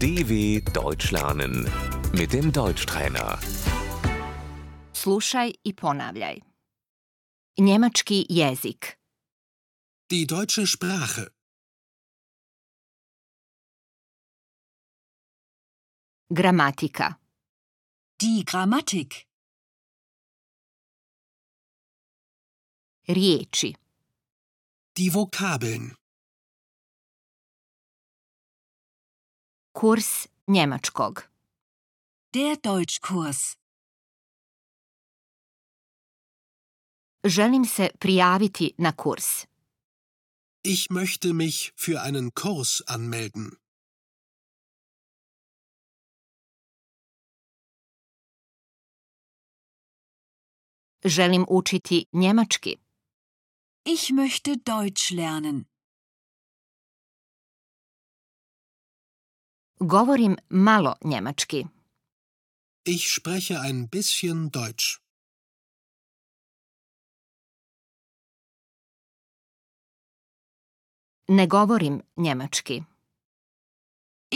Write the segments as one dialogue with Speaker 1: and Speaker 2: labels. Speaker 1: DW Deutsch lernen mit dem Deutschtrainer.
Speaker 2: Slušaj i ponavljaj. Njemački jezik.
Speaker 3: Die deutsche Sprache.
Speaker 2: Gramatika.
Speaker 4: Die Grammatik.
Speaker 2: Riječi.
Speaker 3: Die Vokabeln.
Speaker 2: Kurs njemačkog.
Speaker 4: Der Deutschkurs.
Speaker 2: Želim se prijaviti na kurs.
Speaker 3: Ich möchte mich für einen Kurs anmelden.
Speaker 2: Želim učiti njemački.
Speaker 4: Ich möchte Deutsch lernen.
Speaker 2: Govorim malo njemački.
Speaker 3: Ich spreche ein bisschen Deutsch.
Speaker 2: Ne govorim njemački.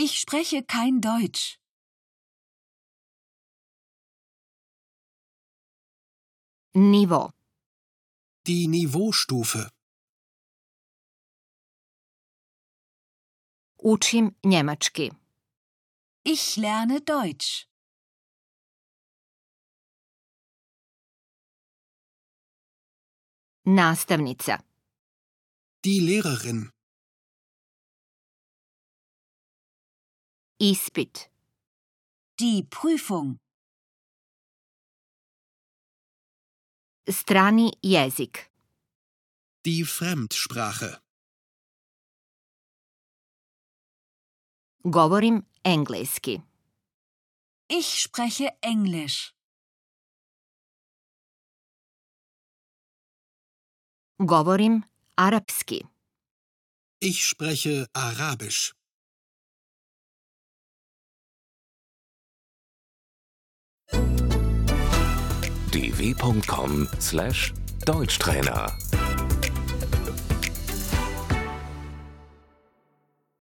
Speaker 4: Ich spreche kein Deutsch.
Speaker 2: Nivo.
Speaker 3: Die Niveaustufe.
Speaker 2: Učim njemački.
Speaker 4: Ich lerne Deutsch.
Speaker 2: Nastavnica.
Speaker 3: Die Lehrerin.
Speaker 2: Ispit.
Speaker 4: Die Prüfung.
Speaker 2: Strani jezik.
Speaker 3: Die Fremdsprache.
Speaker 2: Govorim engleski.
Speaker 4: Ich spreche Englisch.
Speaker 2: Govorim arapski.
Speaker 3: Ich spreche Arabisch.
Speaker 1: dw.com/deutschtrainer